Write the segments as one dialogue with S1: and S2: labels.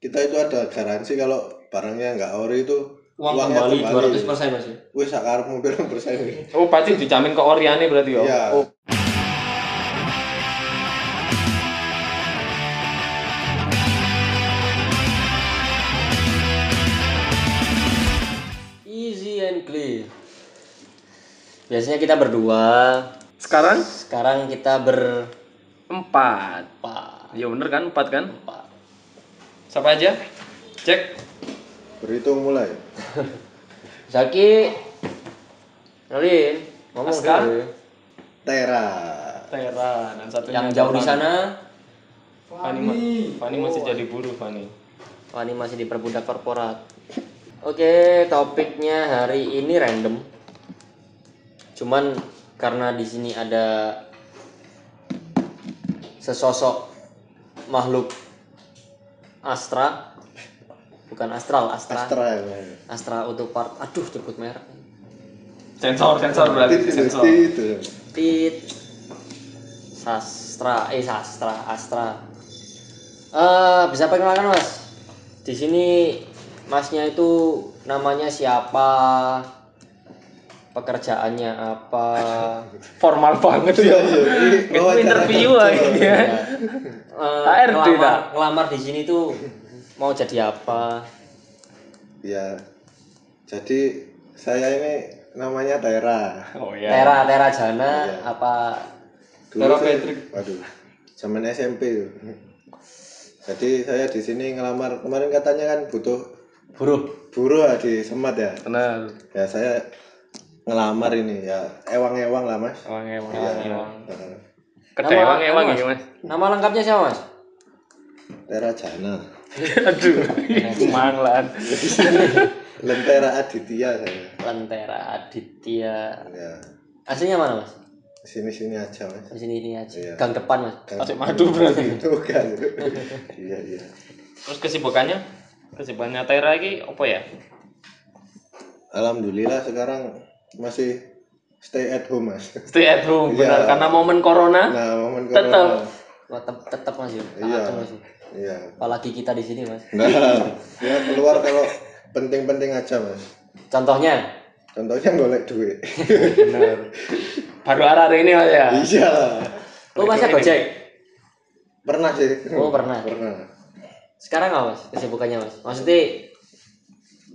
S1: kita itu ada garansi kalau barangnya nggak ori itu
S2: Uang
S1: Uangnya
S2: kembali
S1: Iya, kembali.
S2: 200 persen mas ya?
S1: wis sakarmu pirang persen
S3: Oh, pasti dijamin ke Oriane berarti ya.
S1: Iya.
S3: Oh.
S2: Easy and clear. Biasanya kita berdua.
S3: Sekarang
S2: Sekarang kita ber
S3: empat.
S2: apa?
S3: Ya bener kan empat kan?
S2: Apa?
S3: Siapa aja? Cek.
S1: berhitung mulai
S2: Zaki, Nalin, ngomong
S3: Askar.
S2: dulu.
S1: tera
S3: Tera dan satunya
S2: Yang jauh di
S3: Fani.
S2: sana,
S3: Fani, ma- Fani masih jadi buruh Fani.
S2: Wah, ini masih diperbudak korporat. Oke, topiknya hari ini random. Cuman karena di sini ada sesosok makhluk Astra, bukan astral, Astra. Astra,
S1: astra ya Mas.
S2: untuk part. Aduh, nyebut merek.
S3: Sensor, sensor berarti
S1: Tit, itu
S3: sensor.
S1: tit, itu
S2: Tit sastra eh sastra astra eh bisa perkenalkan mas di sini masnya itu namanya siapa pekerjaannya apa
S3: Formal banget
S1: Iya,
S3: ya. Itu
S1: Wawancara
S3: interview
S1: kerja.
S3: lagi ya.
S2: Eh,
S3: HRD, Pak.
S2: ngelamar, ngelamar di sini tuh mau jadi apa
S1: ya jadi saya ini namanya tera
S3: Oh iya.
S2: tera tera jana
S1: Iya.
S2: apa
S3: Tera
S1: saya-
S3: Patrick.
S1: waduh zaman SMP tuh. jadi saya di sini ngelamar kemarin katanya kan butuh
S2: buruh
S1: buruh ya di semat ya
S3: Benar.
S1: ya saya ngelamar ini ya ewang-ewang lah mas
S2: Oh,
S3: Emang emang.
S1: Iya.
S3: emang.
S1: Heeh.
S3: Kedai
S2: Nama-
S3: emang emang
S2: nama,
S3: ya,
S2: Mas?
S3: Mas.
S2: nama lengkapnya siapa mas
S1: Tera Jana
S3: Aduh. Manglan.
S1: Lentera Aditya saya
S2: lentera aditya
S1: ya
S2: aslinya mana mas
S1: sini-sini aja mas
S2: di sini ini aja
S1: Iya.
S2: gang depan mas
S3: Asik madu berarti.
S1: bukan iya iya
S3: Terus kesibukannya? Kesibukannya Tera iki apa ya?
S1: alhamdulillah sekarang masih stay at home mas
S3: Stay at
S1: Iya.
S3: home, benar. Karena momen corona.
S1: nah momen
S3: Tetap.
S1: corona
S2: tetap tetap mas ya
S1: Iya.
S2: Taatan, mas.
S1: iya
S2: apalagi kita di sini mas
S1: nah ya keluar kalau penting-penting aja mas
S2: contohnya
S1: contohnya golek duit
S3: Benar. Baru hari ini Mas ya.
S1: iya
S2: lu masnya gojek
S1: pernah sih
S2: Oh, pernah.
S1: pernah
S2: sekarang nggak mas kesibukannya mas maksudnya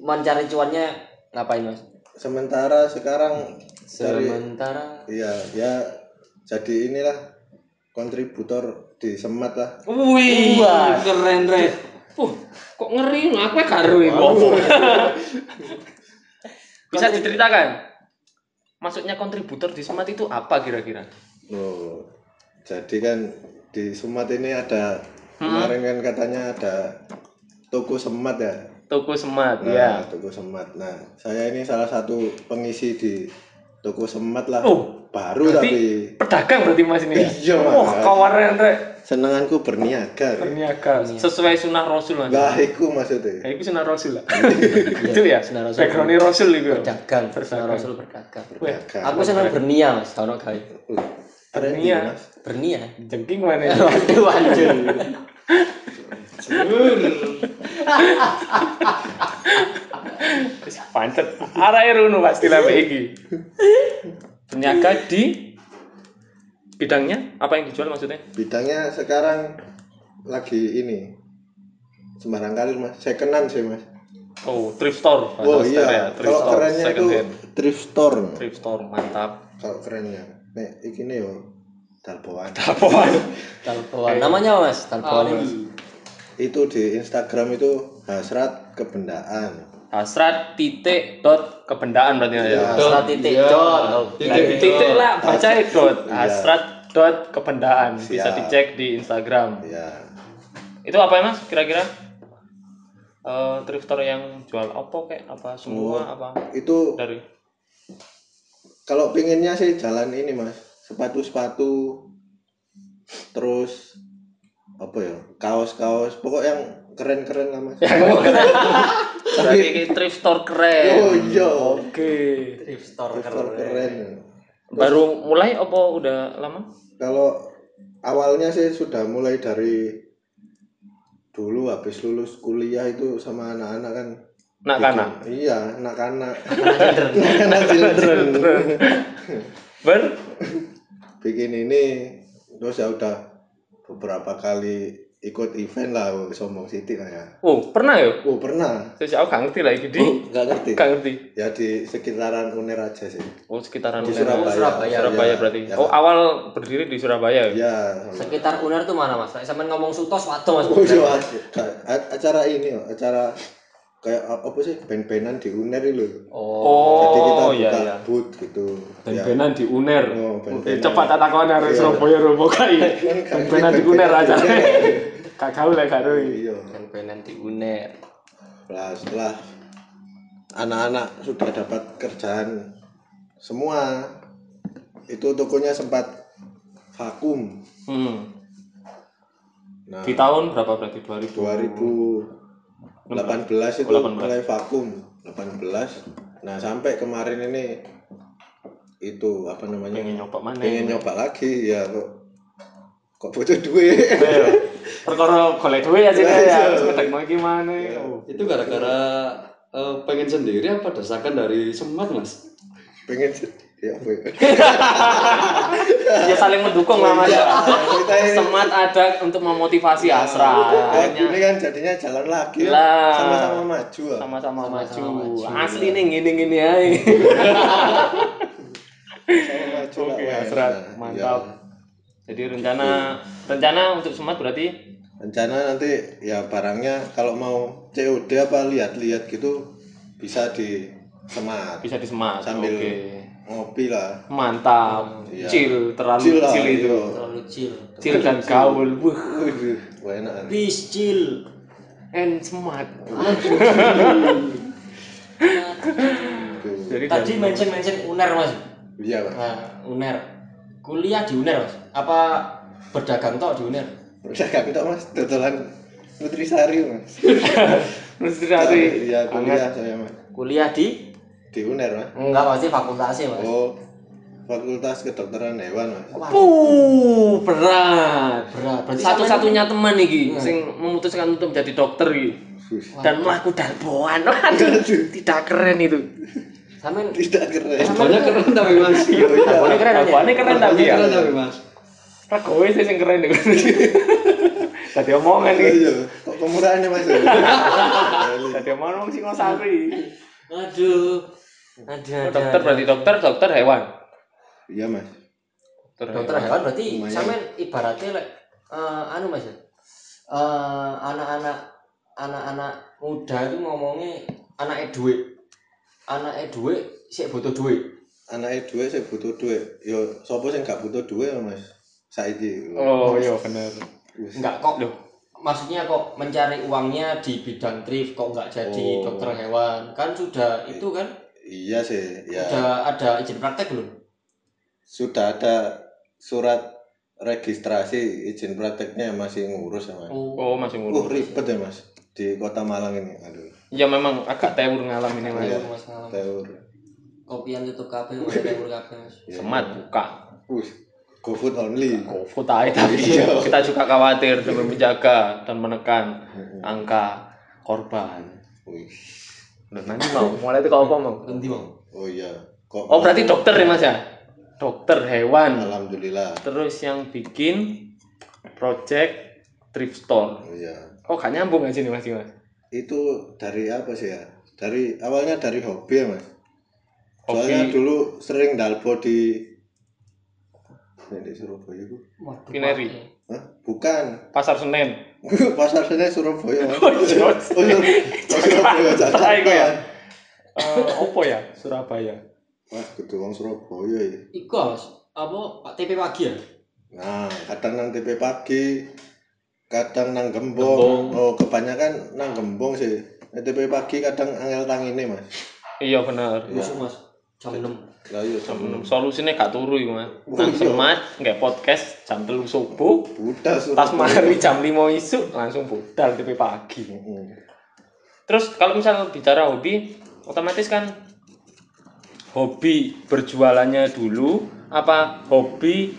S2: mencari cuannya ngapain mas
S1: sementara sekarang cari
S2: sementara
S1: Iya, ya jadi inilah kontributor di Semat lah.
S3: Wih,
S2: Wah.
S3: keren Red. Uh, kok ngeri aku karo iku. Bisa diceritakan? Maksudnya kontributor di Semat itu apa kira-kira?
S1: Loh, jadi kan di Semat ini ada kemarin kan katanya ada toko Semat ya.
S3: Toko Semat,
S1: Nah,
S3: ya.
S1: toko Semat. Nah, saya ini salah satu pengisi di toko Semat lah.
S3: Oh,
S1: Baru
S3: berarti- Pedagang berarti Mas ini. ya?
S1: Iya, Mas.
S3: Wah, kawaran Rek.
S1: tapi senenganku berniaga.
S3: Berniaga sesuai sunah Rasul Mas.
S1: Lah, iya. iku maksudnya.
S3: Ya, itu sunah Rasul lah. itu ya.
S2: sunah Rasul.
S3: Backgroundnya Rasul itu. ya?
S2: dagang Rasulullah rasul berdagang
S1: Berniaga.
S2: aku senang bernia mas kalau gawe
S1: Loh, keren
S3: Iya.
S1: ini, Mas.
S2: bernia
S3: Jengking mana ya?
S2: waduh anjir
S3: Pancet. Arah Runo pasti lah iki. Berniaga di bidangnya apa yang dijual maksudnya?
S1: Bidangnya sekarang lagi ini sembarang kalir mas, secondan sih mas.
S3: Oh, thrift store. bahasa
S1: Oh
S3: Australia.
S1: iya,
S3: thrift
S1: kalau
S3: store,
S1: kerennya itu
S3: second hand.
S1: thrift store.
S3: thrift store mantap.
S1: Kalau kerennya, nek iki nih yo Dalboan.
S3: Apaan?
S2: Talboan namanya apa, mas talboan ini
S1: Itu di Instagram itu hasrat kebendaan.
S3: Hasrat titik dot kebendaan berarti
S1: Iya.
S3: ya.
S2: Astra titik dot
S3: Titik, titik lah baca dot. Hasrat dot kebendaan bisa
S1: Iya. Siap.
S3: dicek di Instagram.
S1: Ya,
S3: Itu apa ya mas? Kira-kira eh thrift store yang jual apa kayak apa
S1: Oh.
S3: semua apa
S1: itu
S3: dari
S1: kalau pinginnya sih jalan ini mas, sepatu-sepatu, terus apa ya, kaos-kaos, pokok yang keren-keren lah mas.
S3: Berarti ini thrift store keren.
S1: Oh iya,
S3: Oke.
S2: thrift store
S1: thrift store
S2: keren
S1: keren.
S3: Baru mulai apa udah lama?
S1: Kalau awalnya sih sudah mulai dari 2019 dulu habis lulus kuliah itu sama anak-anak kan
S3: Nak
S1: bikin-
S3: kanak.
S1: iya anak-anak anak-anak children
S3: Ber
S1: bikin ini terus ya udah beberapa kali ikut event lah oh, sombong Siti lah ya
S3: Oh, pernah ya?
S1: oh pernah Oh,
S3: Terus aku gak ngerti lah iki di.
S1: nggak ngerti
S3: Gak ngerti.
S1: ya di sekitaran Uner aja sih
S3: Oh, sekitaran
S1: di
S3: Uner.
S1: Surabaya
S2: Surabaya.
S3: Surabaya berarti.
S1: ya,
S3: Oh, awal berdiri di Surabaya. ya?
S1: ya
S2: Sekitar Uner tuh mana mas? Sampai ngomong sutos waduh mas.
S1: Oh, iya, Mas. A- acara ini loh, acara kayak a- apa sih band-bandan di Uner itu loh.
S2: Oh.
S1: Jadi kita
S3: Oh,
S1: buka
S3: iya iya.
S1: booth gitu. Ya.
S3: Ben-benan di Uner.
S1: Oh, ben-benan.
S3: Eh, cepat takon arek
S1: Iya.
S3: Surabaya robo kae. Ben-benan di Uner aja. Gak gaul lek gak roe.
S1: gitu ya. Iya.
S2: Pembenan di Uner.
S1: Lah setelah anak-anak sudah dapat kerjaan semua itu tokonya sempat vakum.
S3: Hmm.
S1: Nah,
S3: Di tahun berapa berarti 2000?
S1: 2018 itu
S3: Oh, 18.
S1: mulai vakum 18 nah sampai kemarin ini itu apa namanya
S3: Pengen nyoba mana?
S1: pengen nyoba lagi ya kok kok butuh duit
S3: Ayo. Iya. Perkara golek duit ya sih
S1: Iya,
S3: ya.
S1: iya.
S3: Wis ngedekno iki mana? Oh.
S4: Itu gara-gara eh, pengen sendiri apa desakan dari semat mas?
S1: pengen ya apa ya
S2: Ya saling
S1: Oh,
S2: mendukung lah
S1: iya.
S2: mas.
S1: kita ini
S2: Semat ada untuk memotivasi
S3: Ya.
S2: Asra.
S1: kalau
S2: Akhirnya
S1: gini kan jadinya jalan lagi
S2: Lah.
S1: sama-sama maju ah.
S3: Sama-sama maju.
S2: maju.
S3: Asli nih ya. gini-gini ae.
S1: sama maju lah,
S3: Oke,
S1: wes.
S3: Asrat.
S1: Nah,
S3: Mantap.
S1: iya.
S3: Jadi rencana rencana untuk semat berarti
S1: rencana nanti ya barangnya kalau mau COD apa lihat-lihat gitu bisa di Semat
S3: bisa di semat.
S1: Sambil-
S3: Oke.
S1: ngopi lah
S3: Mantap.
S1: Iya.
S3: Cil, terlalu
S1: Cil lah,
S3: cil itu.
S1: iya.
S2: terlalu chill.
S3: Cil dan gaul. Wuh.
S1: Waduh, wah, enak.
S2: Bis chill.
S3: And smart.
S1: Tuh.
S3: Jadi
S2: Tadi mention-mention Uner mas.
S1: Iya, Pak.
S2: Nah, Uner. Kuliah di Uner mas. Apa berdagang tok di Uner?
S1: Berdagang tok, Mas. Dodolan Nutrisari, Mas.
S3: mesti dari
S1: Iya, kuliah saya, Mas.
S2: Kuliah di?
S1: Di UNER, Mas.
S2: Enggak pasti fakultasi mas.
S1: Oh, Fakultas Kedokteran Hewan, Mas.
S3: Iya. Puh, berat.
S2: Berat. Berarti
S3: Satu-satunya teman iki sing memutuskan untuk menjadi dokter iki dan melaku darboan. Waduh, tidak keren itu.
S2: Sampai
S1: Tidak keren. Iya,
S4: Banyak keren tapi mas.
S3: Darboannya Iya, keren aja. Darboannya keren tapi ya.
S4: Keren tapi mas.
S3: Regowe sih sing keren iku. Tadi omongan iki.
S1: Iya, kok kemurahan ya, Mas?
S3: Tadi omongan wong sing ngosari.
S2: Aduh. Aduh,
S3: Oh,
S2: aduh,
S3: Dokter
S2: aduh.
S3: berarti dokter, dokter hewan.
S1: Iya, Mas.
S2: dokter hewan berarti
S1: Iya. Lumayan.
S2: sampean ibaratnya lek eh, anu Mas. ya, eh, anak-anak anak-anak muda itu ngomongnya anaknya duit. Anaknya duit sik butuh duit.
S1: Anaknya duit, saya butuh duit. Yo, sopo sing gak butuh duit, Mas? Saiki.
S3: Oh iya bener.
S1: Wis.
S2: Enggak kok.
S3: Loh.
S2: Maksudnya kok mencari uangnya di bidang thrift kok enggak jadi
S1: Oh.
S2: dokter hewan. Kan sudah itu kan
S1: Iya sih, ya.
S2: sudah ada izin praktek belum?
S1: Sudah ada surat registrasi izin prakteknya masih ngurus, ya, Mas.
S3: Oh masih
S1: Uh,
S3: ngurus.
S1: ribet ya mas di kota Malang ini. Aduh,
S3: Ya memang agak tewur ngalam ini mas.
S1: Iya.
S2: Mas Ngalam.
S1: teur.
S2: Kopian tutup kabeh, udah kabur kabeh, Mas.
S3: Semat buka.
S1: Uh, GoFood only.
S3: Covid aja tapi kita juga khawatir demi menjaga dan menekan angka korban.
S1: Wih.
S3: Loh, nanti mau mulai itu kau apa mau?
S2: Nanti mau.
S1: Oh iya. Kok?
S3: Oh berarti dokter ya mas ya? Dokter hewan.
S1: Alhamdulillah.
S3: Terus yang bikin project thrift store.
S1: Oh iya.
S3: Oh gak nyambung aja nih mas Dimas.
S1: Itu dari apa sih ya? Dari awalnya dari hobi ya mas. Soalnya
S3: Hobi
S1: dulu sering dalbo di Nek di Surabaya itu.
S2: Waduh,
S3: Kineri.
S2: Pak.
S1: Hah? Bukan.
S3: pasar Senen.
S1: Pasar senen Surabaya. Mas.
S3: Oh,
S1: Oh, Sur-
S3: iya.
S1: oh, Surabaya.
S3: Salah iku ya.
S1: Jakarta.
S3: Eh, opo ya? Surabaya.
S1: Wah, kudu wong Surabaya ya.
S2: Iku Mas, apa TP pagi ya?
S1: Nah, kadang nang TP pagi, kadang nang gembong.
S3: Gembong.
S1: Oh, kebanyakan nang gembong sih. Nang TP pagi kadang angel tangine, Mas.
S3: Iya bener.
S1: Iya.
S2: Masuk Mas, jam 6.
S1: Lah iya jam
S3: Hmm, Solusinya gak turu iku, Mas. Nang
S1: Iya.
S3: semat, nggak podcast jam 3 subuh,
S1: budal
S3: tas
S1: Surabaya.
S3: mari jam 5 isuk langsung budal TP pagi.
S1: Heeh.
S3: Terus kalau misal bicara hobi, otomatis kan hobi berjualannya dulu apa hobi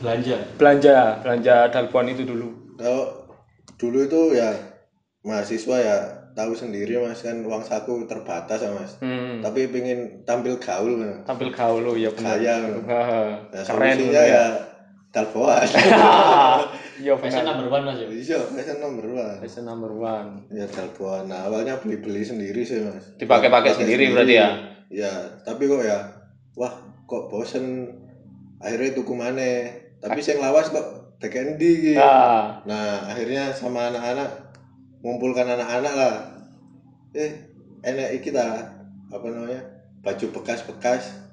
S2: Belanja.
S3: belanja belanja dalpuan itu dulu
S1: Kalau dulu itu ya mahasiswa ya tahu sendiri mas kan uang saku terbatas ya mas
S3: Hmm.
S1: tapi pengen tampil gaul kan
S3: Tampil gaul lo ya benar.
S1: kaya kan.
S3: Haha,
S1: Nah,
S3: Keren.
S1: solusinya ya telepon
S3: Iya
S2: Fashion
S3: benar.
S2: number one mas ya.
S1: bisa fashion nomor one
S3: Fashion number one.
S1: ya telepon nah, awalnya beli beli sendiri sih mas
S3: Dipakai-pakai sendiri berarti ya?
S1: ya tapi kok ya wah kok bosen akhirnya tuku mana tapi sing lawas kok tekan di
S3: Ah,
S1: Nah, akhirnya sama anak-anak mengumpulkan anak-anak lah. Eh, enak kita apa namanya? baju bekas-bekas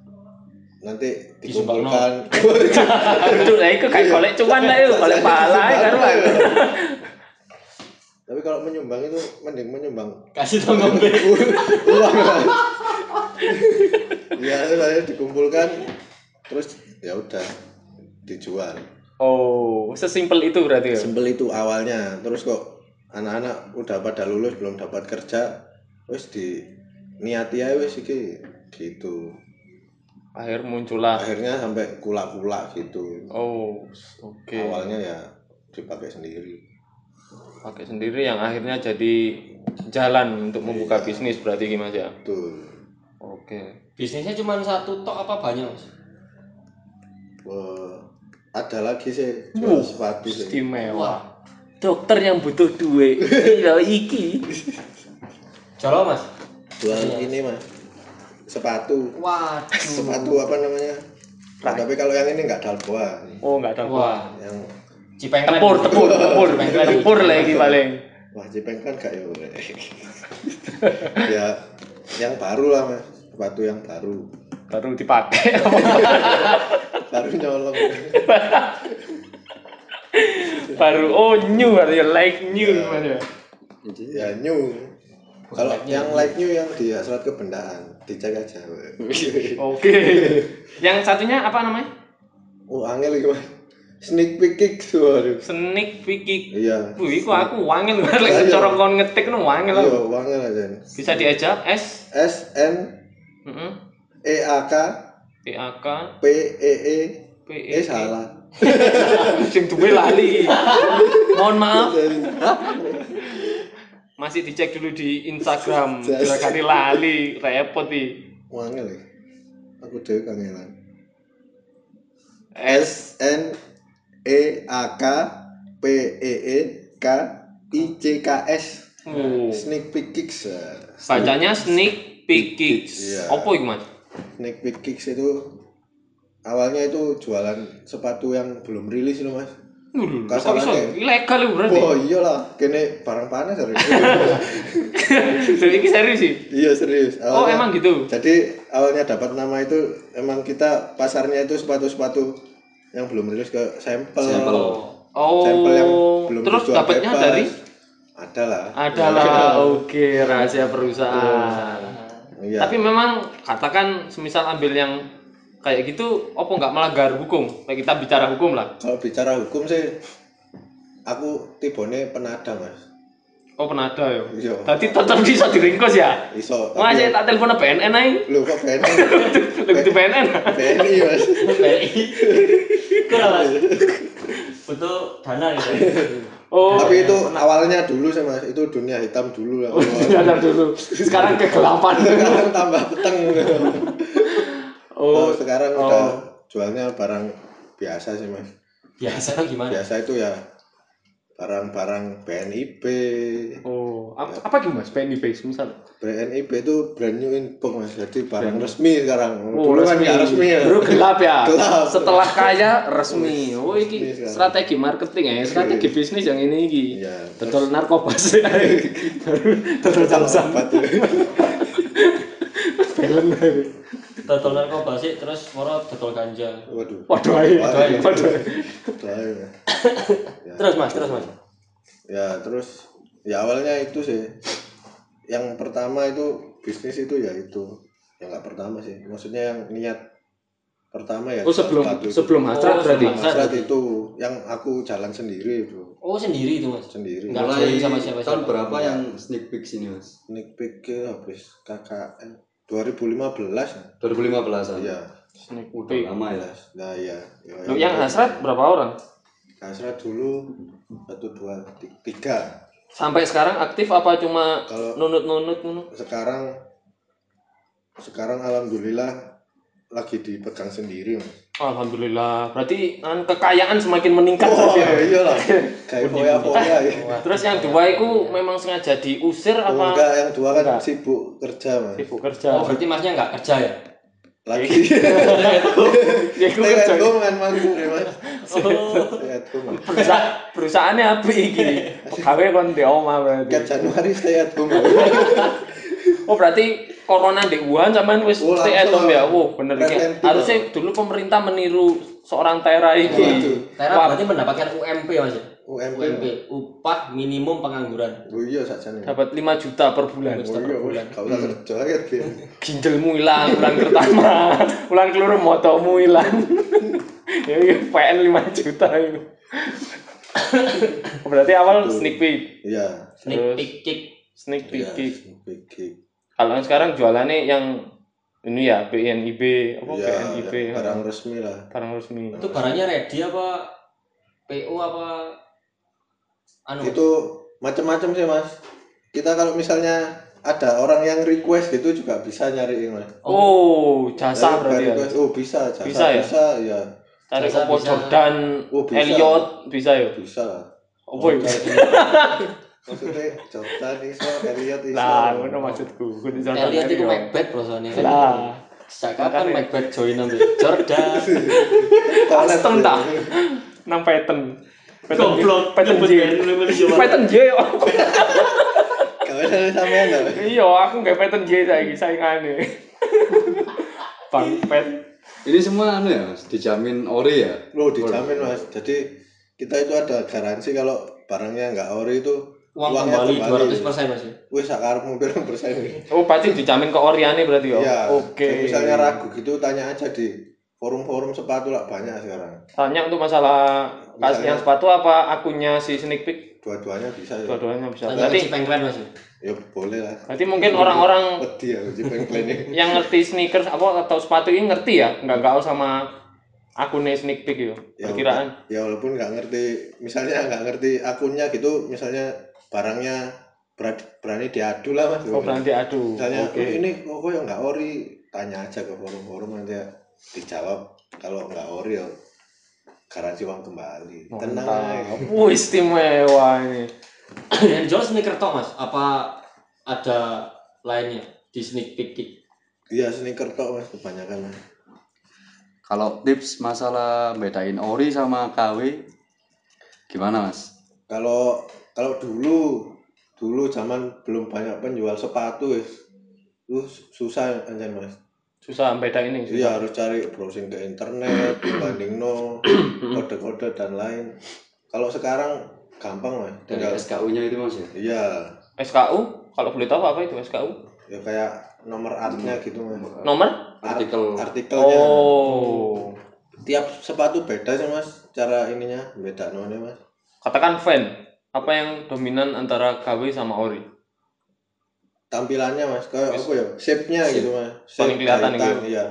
S1: nanti dikumpulkan
S3: aduh lah iku kayak golek cuan lah iku, golek pahala ya kan. Pak.
S1: tapi kalau menyumbang itu mending menyumbang
S2: Kasih tau ngombe.
S1: uang lah. ya terus akhirnya dikumpulkan terus ya udah dijual
S3: Oh, sesimpel itu berarti ya.
S1: Sembel itu awalnya, terus kok anak-anak udah pada lulus belum dapat kerja, wes di niati aja wes iki gitu.
S3: Akhir muncullah.
S1: Akhirnya sampai kulak-kulak gitu.
S3: Oh, oke.
S1: Awalnya ya dipakai sendiri.
S3: Pakai sendiri yang akhirnya jadi jalan untuk membuka bisnis berarti gimana ya?
S1: Betul.
S3: Oke.
S2: Bisnisnya cuma satu tok apa banyak mas?
S1: Wah, ada lagi sih jual sepatu sih.
S3: Istimewa. Dokter yang butuh duit. Iya iki.
S2: Jalo mas.
S1: Jual ini mah sepatu.
S2: Waduh.
S1: Sepatu apa namanya? Nah, tapi kalau yang ini nggak dalboa,
S3: Oh, enggak ada gua.
S2: Wah.
S1: yang
S2: Cipengklen.
S3: Tepur, tepur, tepur,
S2: Cipengklen.
S3: tepur lagi paling.
S1: Wah Jepang kan gak ya Bre? ya yang baru lah mas sepatu yang baru
S3: Baru dipakai.
S1: baru nyolong
S3: Baru oh new artinya like new namanya.
S4: Jadi
S1: ya new kalau yang like new yang di surat kebendaan dicek aja Bre.
S3: Oke. Yang satunya apa namanya?
S1: oh angel lagi mas sneak peek kicks, waduh
S3: Sneak peek.
S1: iya
S3: Wih, kok aku wangil banget lek secara kon ngetik nu wangil
S1: iya
S3: aku.
S1: angel aja
S3: Bisa diajak S.
S1: S N
S3: Heeh.
S1: E A K
S3: PAK
S1: P E E
S3: PE.
S1: eh salah
S3: Sing duwe lali. Mohon maaf. Masih dicek dulu di Instagram. Barangkali lali, repot iki.
S1: angel ya aku dewe kangelan
S3: S
S1: S N E A K P E E K I C K S
S3: Oh.
S1: Sneak peek kicks. eh.
S3: Bacanya sneak peek kicks.
S1: Iya.
S3: Apa iku, Mas?
S1: Sneak peek kicks itu awalnya itu jualan sepatu yang belum rilis loh mas.
S3: Lho,
S1: Gak
S3: kok iso?
S1: salah, Nek.
S3: Ilegal itu berarti.
S1: Oh iyalah, kene barang panas ya, serius.
S3: Jadi ini serius sih.
S1: iya serius.
S3: Oh, emang gitu.
S1: Jadi awalnya dapat nama itu emang kita pasarnya itu sepatu-sepatu yang belum rilis ke sampel.
S4: Sampel.
S3: Oh.
S1: Sampel yang belum
S3: terus
S1: dijual
S3: dapatnya
S1: bebas. Iya.
S3: dari Oh.
S1: Adalah.
S3: adalah oke rahasia perusahaan.
S1: Iya.
S3: Tapi memang katakan semisal ambil yang kayak gitu, opo nggak melanggar hukum? Kayak kita bicara hukum lah.
S1: Kalau bicara hukum sih, aku tibone penada mas.
S3: Oh pernah ada ya.
S1: Iya.
S3: Tadi tetap bisa diringkos ya.
S1: Iso.
S3: Wah,
S1: tapi-
S3: saya tak telepon BNN aja.
S1: Lu kok BNI?
S3: Lebih di BNN.
S1: BNI mas.
S2: Kurang mas. Butuh dana ya? nih.
S3: Oh, Oh,
S1: Tapi itu awalnya dulu sih mas, itu dunia hitam dulu lah.
S3: sadar dulu. Sekarang kegelapan.
S1: sekarang tambah peteng. Kalau
S3: Oh,
S1: sekarang
S3: oh.
S1: udah jualnya barang biasa sih mas.
S2: Biasa gimana?
S1: Biasa itu ya barang-barang BNIB.
S3: Oh, apa, apa gitu mas? PNIP misal.
S1: BNIB itu brand new info mas, jadi barang resmi sekarang.
S3: Oh,
S1: dulu kan nggak resmi ya.
S3: Dulu gelap ya.
S1: Gelap.
S3: Setelah kaya resmi. Oh,
S1: Resmi
S3: ini
S1: sekarang.
S3: strategi marketing ya, strategi bisnis yang ini iki.
S1: Iya.
S3: Dodol narkoba sih. Dodol jam-jam
S1: Obat tuh.
S3: film.
S2: Total narkoba sih, terus moro total ganja.
S1: Waduh.
S3: Waduh ae.
S1: Waduh, ae.
S3: Waduh. ae.
S1: bahaya, Mas.
S2: Terus mas, terus mas.
S1: ya terus ya awalnya itu sih yang pertama itu bisnis itu ya itu ya nggak pertama sih maksudnya yang niat pertama ya
S3: Oh, sebelum
S1: sepatu itu.
S3: sebelum hasrat
S2: Oh,
S3: berarti.
S2: sebelum hasrat.
S1: Hasrat itu yang aku jalan sendiri itu
S2: Oh sendiri itu mas.
S1: sendiri
S2: Nggak
S4: mulai
S2: join sama siapa-siapa.
S4: tahun berapa yang sneak peek sini mas?
S1: sneak peek ke habis KKN 2015
S4: 2015 an
S1: ya
S3: Sneak
S4: Udah
S3: peek.
S4: lama ya
S1: nah ya, ya,
S3: Loh, yang hasrat berapa orang?
S1: hasrat dulu satu dua ti- tiga
S3: Sampai sekarang aktif apa cuma
S1: Kalau-
S3: nunut-nunut ngono?
S1: sekarang sekarang alhamdulillah lagi dipegang sendiri mas
S3: Alhamdulillah. Berarti kan, kekayaan semakin meningkat
S1: oh
S3: Mas, ya?
S1: iya lah kayak foya foya ya
S3: Terus yang dua itu memang sengaja diusir
S1: Oh,
S3: apa
S1: enggak yang dua kan
S3: Enggak.
S1: sibuk kerja mas
S3: sibuk kerja?
S2: Oh, berarti masnya nggak kerja ya?
S1: lagi
S3: Ya, iku
S1: stay
S3: kerja.
S1: at home kan mas Gure, mas
S2: Oh.
S1: stay at home
S3: Perusa- perusahaannya api iki. Pegawai kon di omah berarti.
S1: Tiap Januari stay at home
S3: Oh berarti corona di Wuhan sampean wis
S1: Oh,
S3: stay at
S1: langsung.
S3: home ya. Oh bener
S1: Preventif,
S3: iki. Harusnya dulu pemerintah meniru seorang
S1: Waduh.
S3: Tera iki.
S2: Tera berarti mendapatkan UMP mas ya?
S1: UMP
S2: UMP, upah minimum pengangguran.
S1: oh iya saja nih
S3: Dapat 5 juta per bulan. Hmm.
S1: oh iya mas kau usah kerja ya Bin.
S3: Ginjelmu hilang bulan pertama. bulan keluru motomu hilang. ya iya PN 5 juta itu. Oh, berarti awal sneak peek.
S1: iya
S2: Sneak peek cek.
S3: Sneak peek.
S1: iya
S3: peek.
S1: big gig.
S3: Kalau yang sekarang jualannya yang ini ya BNIB apa
S1: Iya, ya,
S3: BNIB
S1: barang resmi lah
S3: barang resmi.
S2: Itu barangnya ready apa? PO apa? Anu Mas?
S1: itu macam-macam sih mas kita kalau misalnya ada orang yang request gitu juga bisa nyariin mas
S3: Oh,
S1: Dari
S3: jasa berarti ya.
S1: request, oh bisa jasa
S3: Bisa ya?
S1: bisa ya
S3: Cari
S2: Jasa
S3: Opo
S2: bisa.
S3: Jordan,
S1: oh bisa Oh,
S3: Elliot bisa ya.
S1: bisa lah
S3: Opo itu?
S1: maksudnya Jordan iso Elliot iso
S3: Lah, ngono maksudku. Kudu Jordan
S2: Elliot itu
S3: Elliot.
S2: Macbeth prosone.
S4: Nah,
S3: Lah,
S2: Sejak kapan
S3: Makanya.
S2: Macbeth join ambil Jordan?
S1: Collab
S3: Aston
S1: ya.
S3: tak? nang pattern. Pattern
S5: Goblok,
S3: pattern J. Pattern J. yo.
S1: Gawe dari sampean lho.
S3: Iya, aku nggak pattern J saiki saingane. Bang pet.
S4: Ini semua anu ya mas, dijamin ori ya.
S1: Loh, dijamin Mas. Jadi kita itu ada garansi kalau barangnya nggak ori itu
S2: Uang
S1: Uangnya
S2: kembali
S1: kembali.
S2: 200 persen mas. ya?
S1: wis sakarmu pirang persen.
S3: Oh, pasti dijamin ke Oriane berarti ya.
S1: Iya. Jadi
S3: Oke.
S1: Misalnya ragu gitu tanya aja di forum-forum sepatu lah banyak sekarang.
S3: Tanya untuk masalah kas
S1: Misalnya-
S3: yang sepatu apa akunnya si Sneak Peek
S1: Dua-duanya bisa ya.
S3: dua-duanya bisa.
S2: Tanya si
S3: Berarti
S2: Pengklan mas. ya?
S1: Ya boleh lah.
S3: berarti mungkin orang-orang
S1: Wedi ya uji pengklene.
S3: yang ngerti sneakers apa atau sepatu ini ngerti ya nggak gaul sama akunnya sneak peek yo
S1: Ya,
S3: perkiraan
S1: wala- Ya walaupun nggak ngerti, misalnya nggak ngerti akunnya gitu, misalnya barangnya berani, berani diadu lah mas.
S3: oh berarti aduh
S1: misalnya
S3: oke
S1: "Oh, ini kok kok yang nggak ori tanya aja ke forum-forum nanti ya. dijawab kalau nggak ori ya garansi uang kembali tenang aja.
S3: Mantap. Wuh, istimewa ini
S2: Yang jual sneaker toh mas? Apa ada lainnya di sneak peek? Kick?
S1: iya sneaker tok mas kebanyakan mas
S4: Kalau tips masalah bedain ori sama KW, gimana mas?
S1: kalau kalau dulu dulu zaman belum banyak penjual sepatu ya lu susah anjan mas
S3: susah beda ini susah.
S1: iya harus cari browsing ke internet dibanding no kode-kode dan lain kalau sekarang gampang mas
S4: Dari
S1: tinggal
S4: SKU-nya itu mas ya.
S1: iya
S3: SKU kalau boleh tahu apa itu SKU
S1: ya kayak nomor artnya gitu mas
S3: nomor
S4: Artikel.
S1: artikelnya
S3: oh
S1: tiap sepatu beda sih mas cara ininya beda nolnya mas
S3: katakan fan apa yang dominan antara KW sama ori
S1: tampilannya mas kayak apa ya shape nya
S4: Shape.
S1: gitu mas
S3: Paling kelihatan
S1: jahitan,
S3: gitu.
S1: iya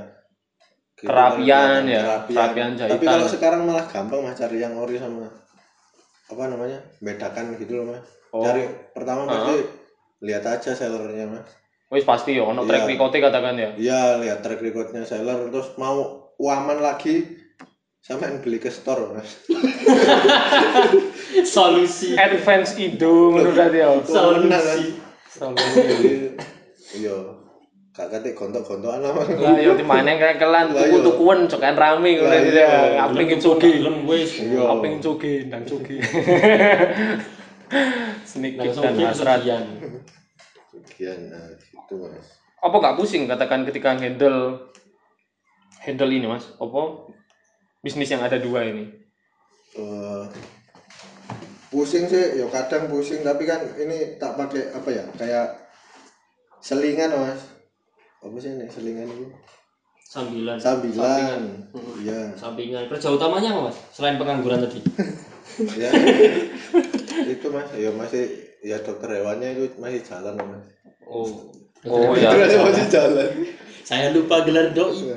S1: Gitu,
S3: Kerapian
S1: paling
S3: ya,
S1: kelihatan,
S3: kerapian
S1: tapi
S3: jahitan.
S1: kalau sekarang malah gampang mas cari yang ori sama apa namanya bedakan gitu loh mas
S3: Oh.
S1: cari pertama pasti lihat aja sellernya mas
S3: wis pasti ya ono
S1: Iya.
S3: track recordnya katakan ya
S1: iya lihat track recordnya seller terus mau uaman lagi sama yang beli ke store mas
S5: Solusi.
S3: advance ido menurut berarti ya
S2: kan?
S1: Uamanan, Mas.
S3: Selalu.
S1: iya gak kate gontok-gontokan lah Mas.
S3: Lah yo dimane kekelan
S1: Lah, iya.
S3: tuku-tukuan jokan rame ngono
S1: Lah,
S3: iki
S1: iya.
S3: ya. Apling cugi.
S2: Belum wis.
S1: Iya.
S3: Apling cugi ndang cugi. Sneak peek
S2: Langsung
S3: dan
S2: kick
S3: hasrat.
S2: sekian.
S1: Sekian, nah, gitu mas
S3: Apa gak pusing katakan ketika handle handle ini Mas? Apa bisnis yang ada dua ini?
S1: Eh, pusing sih ya kadang pusing tapi kan ini tak pakai apa ya kayak selingan mas apa sih ini selingan itu
S2: Sambilan.
S1: sambilan iya
S2: Sampingan. Kerja utamanya apa mas? Selain pengangguran tadi.
S1: ya itu mas ya masih ya dokter hewannya itu masih jalan mas
S2: Oh.
S3: Oh
S1: itu
S3: ya.
S1: masih- masih jalan
S2: Saya lupa gelar doi.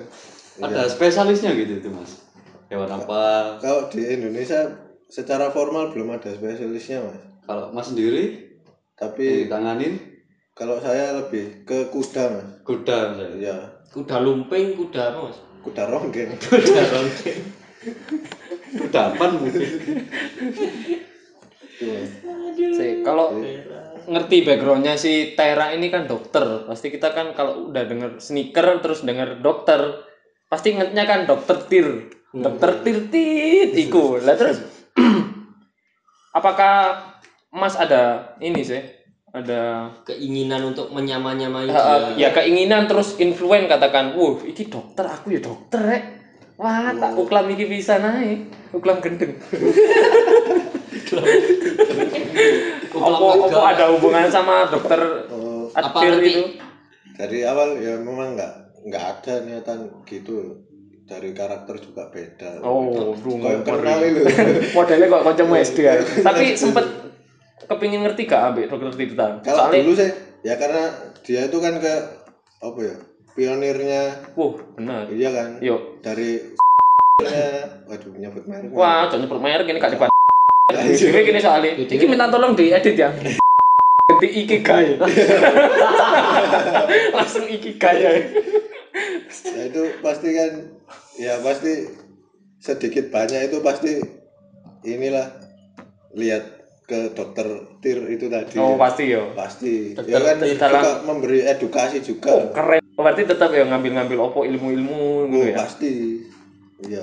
S4: Ada spesialisnya gitu itu mas. Hewan apa?
S1: kalau di Indonesia secara formal belum ada spesialisnya mas
S4: Kalau mas sendiri Iya.
S1: Tapi
S4: ditanganin
S1: kalau saya lebih ke kuda mas.
S4: kuda misalnya
S1: Ya
S2: Kuda lumping, kuda apa mas?
S1: kuda ronggeng.
S2: Kuda ronggeng.
S4: kudapan mungkin
S3: Sih, kalau ngerti backgroundnya si Tera ini kan dokter pasti kita kan kalau udah denger sneaker terus denger dokter pasti ngetnya kan dokter tir
S2: Hmm.
S3: dokter tir tit iku lah terus apakah Mas ada ini sih ada
S2: Keinginan untuk menyamai-nyamai
S3: eh,
S2: dia.
S3: ya keinginan terus influen katakan wuh iki dokter aku ya dokter rek wah tak
S2: Hmm.
S3: uklam iki bisa naik uklam gendeng
S2: Uklam
S3: opo opo
S2: lega.
S3: ada hubungan sama dokter
S1: Oh,
S2: Apa
S3: Atir
S2: nanti-
S3: itu
S1: dari awal ya memang nggak nggak ada niatan gitu. Dari karakter juga beda.
S3: oh dungu
S1: Kayak kenal
S3: ngeri.
S1: itu. ya.
S3: modelnya kok kancamu SD ya. Tapi sempet kepingin ngerti gak ambek dokter Tirta?
S1: Kalau
S3: Soalnya,
S1: dulu sih ya karena dia itu kan ke apa ya pionirnya
S3: wah bener.
S1: iya kan
S3: Yuk,
S1: dari waduh nyebut merek
S3: wah jangan nyebut merek ini gak depan. Jadi gini soalnya, ini minta tolong diedit ya. Ganti iki gay. Langsung iki gay.
S1: Ya itu pasti kan ya pasti sedikit banyak itu pasti inilah lihat ke dokter Tir itu tadi.
S3: Oh pasti yo.
S1: pasti.
S2: Dokter
S1: ya kan
S2: Tir
S1: juga
S3: dalam-
S1: memberi edukasi juga.
S3: Oh keren. Berarti tetap ya ngambil-ngambil opo
S1: Oh,
S3: ilmu-ilmu gitu ya.
S1: pasti. Iya,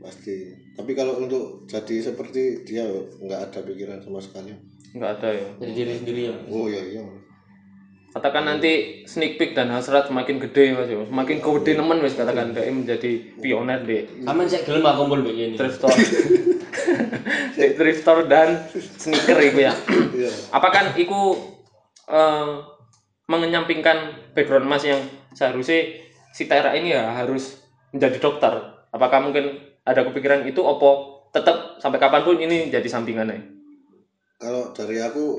S1: pasti. Tapi kalau untuk jadi seperti dia nggak ada pikiran sama sekali.
S3: Enggak ada ya.
S2: Dari diri sendiri ya.
S1: Oh iya iya.
S3: Katakan nanti sneak peek dan hasrat semakin gede mas yo. Semakin kode nemen wis katakan dia menjadi pioner deh.
S2: Kamen saya gelem aku kumpul begini.
S3: thrift store Di thrift store dan sneaker itu ya
S1: Iya.
S3: apakah iku eh, mengenyampingkan background mas yang seharusnya si Tera ini ya harus menjadi dokter apakah mungkin ada kepikiran itu opo tetap sampai kapanpun ini jadi sampingannya
S1: Kalau dari aku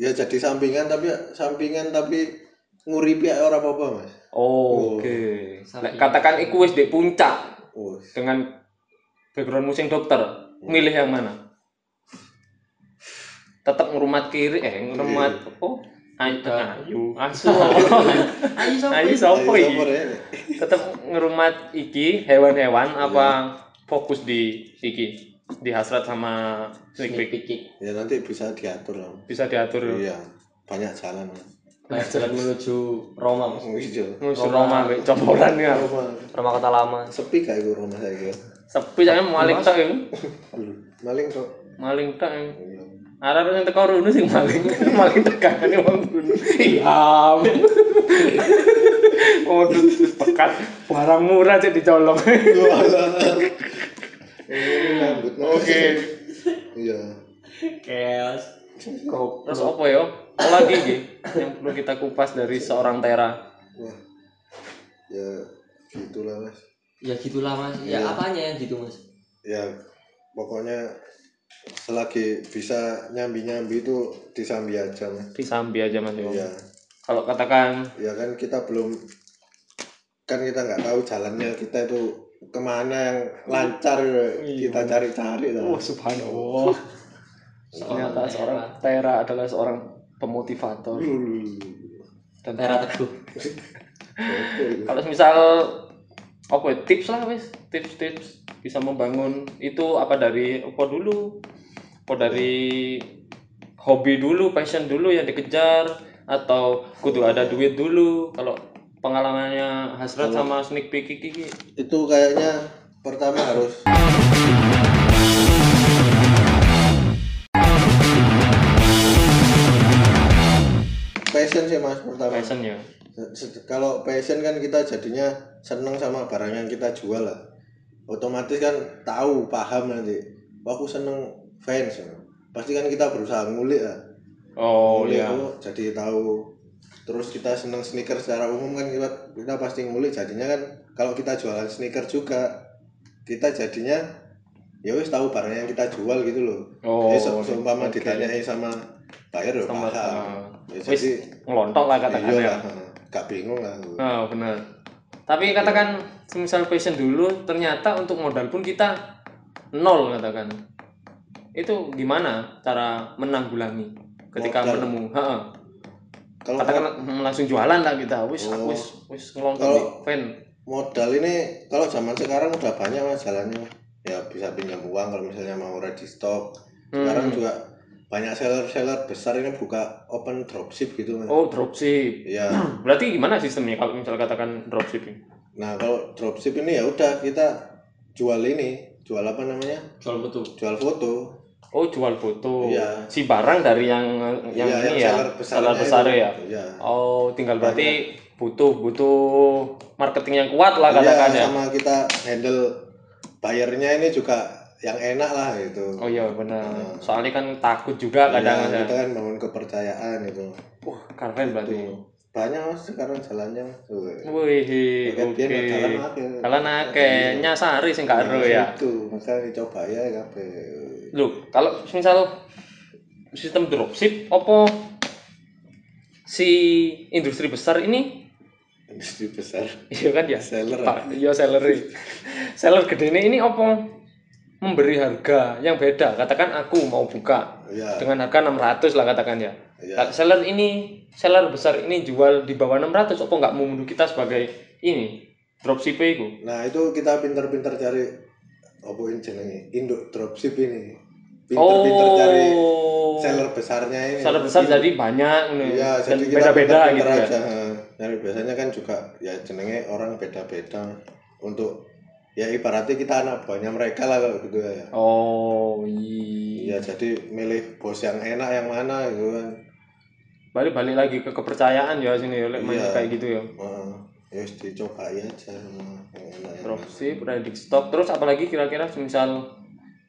S1: ya jadi sampingan tapi sampingan tapi nguripi orang apa-apa, Mas.
S3: oh, oke Lek katakan iku wis di puncak
S1: Oh,
S3: dengan background musim dokter milih yang mana tetap ngurumat kiri eh ngurumat oh ayu ayu asu
S2: Ayo
S3: ayu
S2: sampai.
S3: sopo
S1: ayo,
S3: iki?
S1: sabar ya.
S3: tetap ngurumat iki hewan-hewan apa fokus di iki di hasrat sama sneak peek
S2: Pikik.
S1: Ya nanti bisa diatur lah.
S3: bisa diatur
S1: Iya, banyak jalan.
S2: Banyak jalan menuju Roma mas.
S1: Oh iya.
S3: ngusir Roma be coporan ya
S1: Rumah
S3: Roma kota lama
S1: sepi gak iku rumah saya iki.
S3: sepi jangan maling tak ya.
S1: Maling kok.
S3: maling tak ya.
S1: Iya.
S3: Arah yang teko runu sing maling, maling tekanane wong runu. Iya. Waduh, Oh, pekat barang murah cek dicolong.
S1: Yo, alah. Ini rambut, Mas.
S3: Oke.
S1: Iya.
S2: Chaos. Kok.
S3: Terus apa yo? Apa lagi iki yang perlu kita kupas dari seorang Tera?
S1: Wah. Ya gitulah, Mas.
S2: Ya gitulah mas. Ya
S3: Iya.
S2: apanya yang gitu mas?
S1: Ya pokoknya selagi bisa nyambi-nyambi itu disambi aja, Mas.
S3: Disambi aja Mas yo.
S1: Iya.
S3: Kalau katakan
S1: Ya kan kita belum kan kita nggak tahu jalannya kita itu kemana yang lancar kita cari-cari lah.
S3: Iya. "Oh, subhanallah. Ternyata seorang Tera adalah seorang pemotivator dan
S2: Tera teguh.
S3: kalau misal apa ya, tips lah wes tips tips bisa membangun itu apa dari apa dulu apa dari hobi dulu passion dulu yang dikejar atau kudu ada duit dulu kalau pengalamannya hasrat sama sneak peek iki
S1: itu kayaknya pertama harus passion sih mas pertama
S3: passion ya
S1: Se- kalau passion kan kita jadinya seneng sama barang yang kita jual lah otomatis kan tahu paham nanti Wah, aku seneng fans pasti kan kita berusaha ngulik lah
S3: oh
S1: Ngulik
S3: iya
S1: dulu, jadi tahu terus kita senang sneaker secara umum kan kita, kita pasti ngulik jadinya kan kalau kita jualan sneaker juga kita jadinya ya wis tahu barang yang kita jual gitu loh
S3: Oh,
S1: ya se- seumpama
S3: oke.
S1: ditanyain sama buyer ya
S3: Sama-
S1: paham
S3: ah.
S1: ya,
S3: wis ya.
S1: jadi
S3: ngelontok lah
S1: iya
S3: katakannya
S1: lah gak bingung lah aku.
S3: Oh benar. Tapi katakan semisal passion dulu, ternyata untuk modal pun kita nol katakan. Itu gimana cara menanggulangi? ketika
S1: Modal.
S3: menemu heeh
S1: Kalau
S3: katakanlah hmm, langsung jualan lah kita wis
S1: Oh.
S3: aku wis wis ngelontok
S1: Kalau-
S3: nih, fan
S1: modal ini kalau zaman sekarang udah banyak mas jalannya Mas. ya bisa pinjam uang kalau misalnya mau ready stock sekarang
S3: Hmm.
S1: juga banyak seller-seller besar ini buka open dropship gitu mas
S3: oh dropship
S1: ya
S3: berarti gimana sistemnya kalau misal katakan dropshipping
S1: nah kalau dropship ini ya udah kita jual ini jual apa namanya
S2: Jual betul.
S1: jual foto
S3: oh jual foto
S1: Iya.
S3: si barang dari yang yang
S1: Iya,
S3: ini ya
S1: besarnya
S3: besar
S1: itu.
S3: ya
S1: Iya.
S3: oh tinggal berarti butuh butuh marketing yang kuat lah katakan
S1: Iya,
S3: ya
S1: sama kita handle bayarnya ini juga yang enak lah gitu
S3: oh iya benar
S1: Hmm.
S3: soalnya kan takut juga
S1: Iya,
S3: kadang ada
S1: kita kan bangun kepercayaan gitu
S3: wah keren berarti
S1: Tuh. banyak mas sekarang jalannya Mas. Tuh. ya.
S3: wih oke
S1: Oke.
S3: kalau
S1: Iya,
S3: nake nyasari sing karo ya
S1: Itu maka dicoba ya kabeh.
S3: Loh, kalau misal sistem dropship apa si industri besar ini
S1: Industri besar.
S3: iya kan ya
S1: Seller.
S3: Pak, iya seller seller gede ini ini apa memberi harga yang beda katakan aku mau buka
S1: Iya.
S3: dengan harga 600 lah katakan ya
S1: Iya.
S3: Nah, seller ini seller besar ini jual di bawah 600 apa nggak memundur kita sebagai ini dropship itu
S1: Nah, itu kita pinter-pinter cari apa ini jenenge? Induk dropship ini. Pinter-pinter cari
S3: oh
S1: seller besarnya ini.
S3: seller besar jadi banyak ini.
S1: Iya,
S3: dan
S1: jadi kita
S3: beda-beda
S1: pinter-pinter
S3: gitu ya
S1: aja. Heeh. Dari biasanya kan juga ya jenenge orang beda-beda untuk ya ibaratnya kita anak buahnya mereka lah kalau gitu ya.
S3: Oh iya.
S1: Iya, jadi milih bos yang enak yang mana gitu kan.
S3: Balik balik lagi ke kepercayaan ya sini ya, lek main
S1: Iya.
S3: kayak gitu ya.
S1: Heeh. Ya wis dicobai aja sama yang enak yang enak.
S3: Dropship, redik stock, terus apalagi kira-kira misal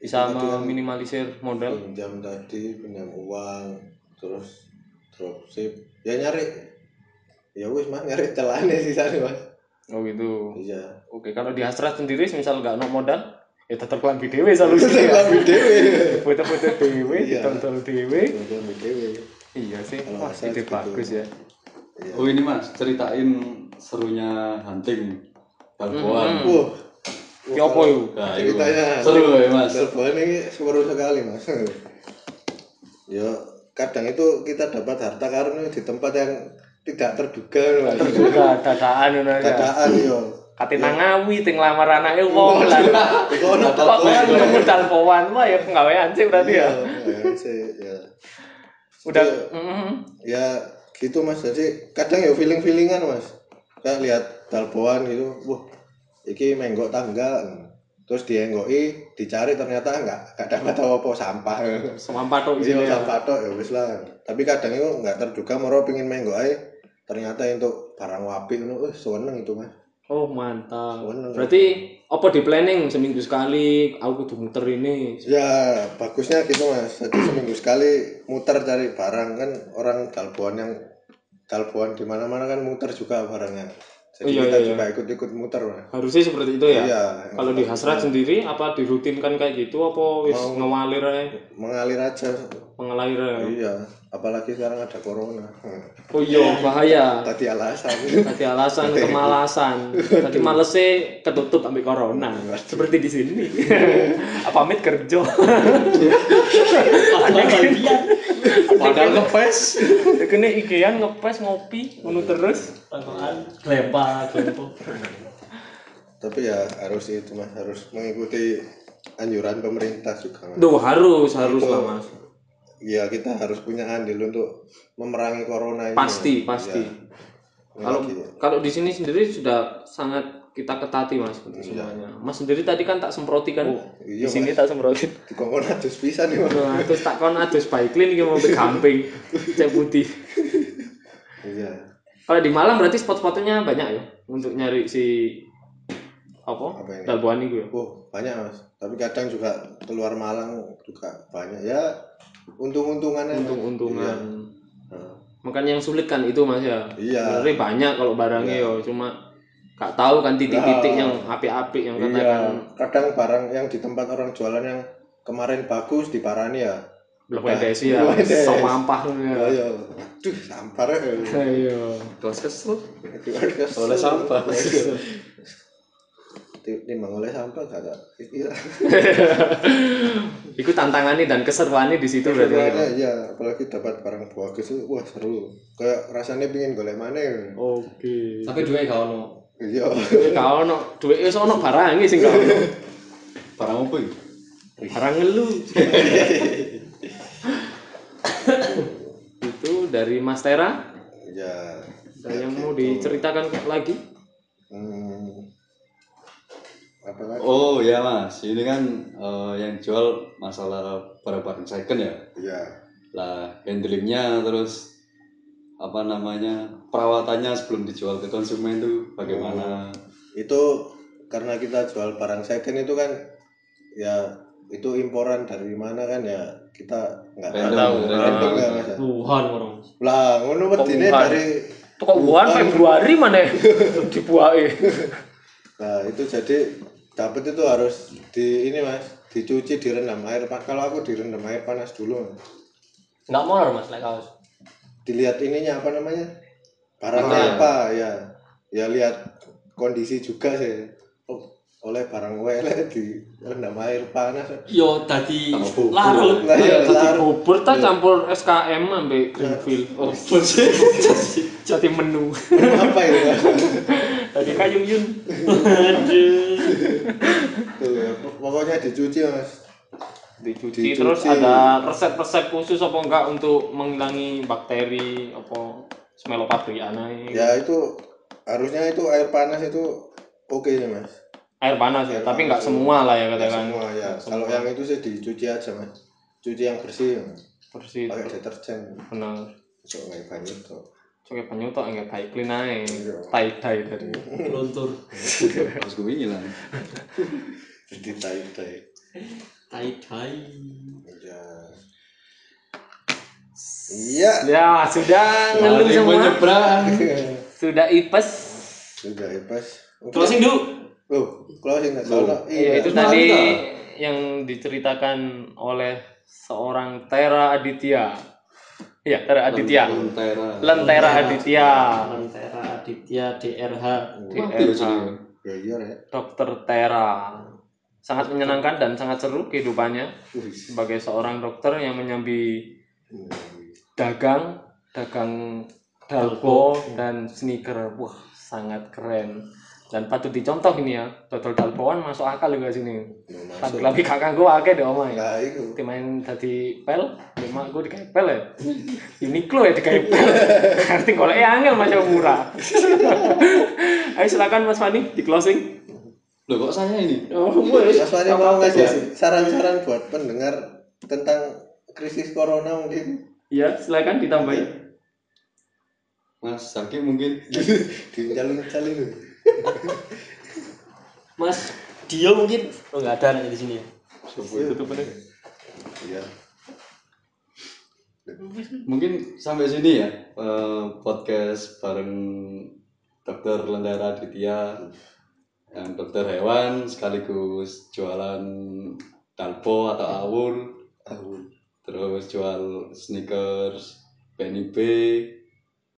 S3: bisa
S1: Itu kan
S3: meminimalisir modal.
S1: pinjam tadi pinjam uang terus dropship ya nyari ya wis mas nyari celahnya sih sana mas
S3: Oh gitu.
S1: iya
S3: Oke, kalau di Astra sendiri misal nggak no modal, ya tetap kelambi dewe solusi.
S1: Saya lebih dewe
S3: Foto-foto dewe,
S1: Iya.
S3: ditonton dewe.
S1: lebih dewe
S3: Iya sih,
S1: Kalau
S3: wah
S1: Astra
S3: ide
S1: gitu.
S3: bagus ya.
S1: Iya.
S4: Oh ini mas, ceritain serunya hunting
S3: Mm-mm.
S4: balboan.
S1: Wah,
S3: Ya apa yuk?
S4: Nah, itu.
S1: ceritanya
S4: Seru ya mas.
S1: serbuan ini seru sekali mas ya kadang itu kita dapat harta karun di tempat yang tidak terduga mas
S3: Terduga dadaan ngono ya.
S1: dadaan Iya. yo
S3: Kate nang ngawi ting lamar anake wong lah.
S1: Iku ono
S3: Kok kan
S1: tokoh.
S3: nemu dalpowan wah ya penggawean sih berarti
S1: Iya,
S3: ya.
S1: iya, sih, iya.
S3: udah
S1: Iya.
S3: mm,
S1: ya gitu mas jadi kadang ya feeling feelingan mas kayak lihat dalboan gitu wah iki menggok tangga terus dienggoi dicari ternyata enggak enggak dapat apa sampah
S3: semampat tok
S1: iya
S3: isinya.
S1: sampah tok ya wis lah tapi kadang itu enggak terduga moro pengen menggok ae ternyata untuk barang wapi ngono eh seneng itu mas
S3: oh mantap
S1: Seneng.
S3: berarti apa di planning seminggu sekali aku kudu muter ini
S1: ya bagusnya gitu mas jadi seminggu sekali muter cari barang kan orang dalboan yang dalboan di mana mana kan muter juga barangnya jadi
S3: Iya,
S1: kita
S3: iya,
S1: juga ikut-ikut muter mas
S3: harusnya seperti itu ya
S1: Iya.
S3: kalau di hasrat sendiri apa dirutinkan kayak gitu apa wis
S1: Mau.
S3: ngawalir aja
S1: mengalir aja.
S3: mengalir aja?
S1: Iya, apalagi sekarang ada corona.
S3: oh iya bahaya
S1: Tadi alasan.
S3: tadi alasan kemalasan tadi malesnya ketutup ambil corona seperti di sini apa amit kerja
S4: Padahal kalian. Padahal ngepes.
S3: kena ikean ngepes ngopi ngono terus
S2: Tangkokan glepa, glepo.
S1: Tapi ya harus itu mas harus mengikuti anjuran pemerintah juga. Mas.
S3: Duh harus harus lah mas
S1: Iya kita harus punya andil untuk memerangi corona ini. Iya.
S3: pasti pasti
S1: Ini
S3: kalau
S1: lagi.
S3: kalau di sini sendiri sudah sangat kita ketati mas untuk semuanya mas sendiri tadi kan tak semproti kan
S1: iya,
S3: di sini tak semproti
S1: di corona terus bisa nih mas.
S3: Nah, terus tak kon adus baiklin iki mau ke gamping cek putih
S1: Iya.
S3: kalau di Malang berarti spot-spotnya banyak ya untuk nyari si apa,
S1: Apa ini?
S3: dalboan itu ya
S1: Oh banyak mas. Tapi kadang juga keluar Malang juga banyak ya. Untung-untungannya. Mas. Iya.
S3: untung-untungan
S1: Nah,
S3: makanya yang sulit kan itu mas ya
S1: Iya.
S3: sebenarnya banyak kalau barangnya ya cuma gak tahu kan titik-titik yang api-api yang kan. katakan
S1: Iya, kadang barang yang di tempat orang jualan yang kemarin bagus di Parani ya.
S3: Lepedes ya,
S1: Lepedes.
S3: semampah ya. Iya.
S1: Ayo, aduh sampar ya.
S3: Ayo, terus kesel.
S1: Aduh, kesel.
S4: Oleh sampah.
S1: timbang oleh sampel gak ada Iya. pikiran
S3: Ikut tantangannya dan keseruannya di situ berarti. Mas, ya?
S1: Soalnya, ya apalagi dapat barang bagus itu wah seru kayak rasanya pingin golek mana
S3: Oh. Oke.
S2: Tapi duwe gak ono.
S1: iya
S3: Kau ono duit wis ono barangnya sih kau.
S4: Barang apa ya?
S3: Barang ngelu. itu dari Mas Tera.
S1: ya
S3: Dan yang mau diceritakan lagi?
S1: hmm, apa lagi
S4: Oh ya mas, ini kan eh, yang jual masalah barang-barang second ya.
S1: ya
S4: Lah handlingnya terus apa namanya perawatannya sebelum dijual ke konsumen itu bagaimana?
S1: itu karena kita jual barang second itu kan ya itu imporan dari mana kan ya kita nggak
S4: Random,
S1: tahu
S4: random.
S1: Random nggak, Mas?
S2: Wuhan orang.
S1: lah ngono medine
S3: Wuhan.
S1: dari
S3: Toko buan Februari mana dibuai.
S1: nah itu jadi dapat itu harus di ini mas dicuci direndam air pak kalau aku direndam air panas dulu Mas.
S2: Enggak molor Mas lek kaos.
S1: dilihat ininya apa namanya barangnya
S4: Barang.
S1: apa ya ya lihat kondisi juga sih oh, oleh barang welek di rendam air panas
S2: Yo dadi
S4: Tambah bubur.
S2: larut.
S1: Lah, ya, lar- Iya.
S3: Bubur tak campur SKM ambe Greenfield. Oh, jadi menu.
S1: apa itu Mas?
S3: Tadi kayung yun.
S1: Tuh, ya, pok- pokoknya dicuci mas
S3: dicuci
S1: Dicuci.
S3: terus ada resep-resep khusus apa enggak untuk menghilangi bakteri apa smelopabriana ini
S1: ya itu harusnya itu air panas itu oke nih mas
S3: air panas
S1: Air
S3: ya tapi
S1: panas
S3: enggak
S1: itu.
S3: semua lah ya
S1: Ya,
S3: katakan
S1: semua ya
S3: Semua.
S1: kalau yang itu sih dicuci aja mas cuci yang bersih Mas.
S3: bersih
S1: pakai deterjen
S3: benar
S1: soalnya banyak tuh
S3: Coba banyu tok enggak kayak clean ae
S1: Iya.
S3: tie dye tadi
S2: Luntur.
S4: Harus gue hilang.
S1: jadi tai tai
S2: Tai-tai.
S1: ya iya
S3: ya sudah ngeluh
S4: Mari
S3: semua
S4: menyeberang.
S3: sudah ipes
S1: sudah ya pas
S2: Closing, Duk.
S1: oh closing nggak salah
S3: ya
S1: iya
S3: itu tadi yang diceritakan oleh seorang Tera Aditya Iya, Tera Aditya.
S4: Lentera.
S3: Lentera Aditya.
S2: Lentera Aditya DRH.
S4: Mati ya,
S3: DRH.
S4: cuy.
S1: ya iya ya
S3: Dokter Tera. Sangat menyenangkan dan sangat seru kehidupannya sebagai seorang dokter yang menyambi dagang, dagang dalgo dan sneaker. Wah, sangat keren. Dan patut dicontoh ini ya, total dalboan masuk akal juga
S1: Mau
S3: sini. Tapi
S1: masuk
S3: lebih kakak gue akeh deh omah ya.
S1: nggak itu
S3: Timain tadi pel, lima gue dikaya pel ya. Uniqlo ya dikaya pel. Arti kalau eh angel masih murah. Ayo silakan Mas Fani di closing.
S4: Loh kok saya ini?
S3: Oh, wes.
S1: Mas Fani mau ngasih saran-saran buat pendengar tentang krisis corona mungkin
S3: Ya, silakan ditambahin.
S4: Mas Zaki mungkin
S1: di jalur jalur
S2: Mas Dio mungkin oh enggak ada anaknya di sini ya.
S1: iya
S4: mungkin sampai sini ya eh, podcast bareng dokter Lentera Aditya yang dokter hewan sekaligus jualan dalpo atau awur
S1: Tahu.
S4: terus jual sneakers Benny B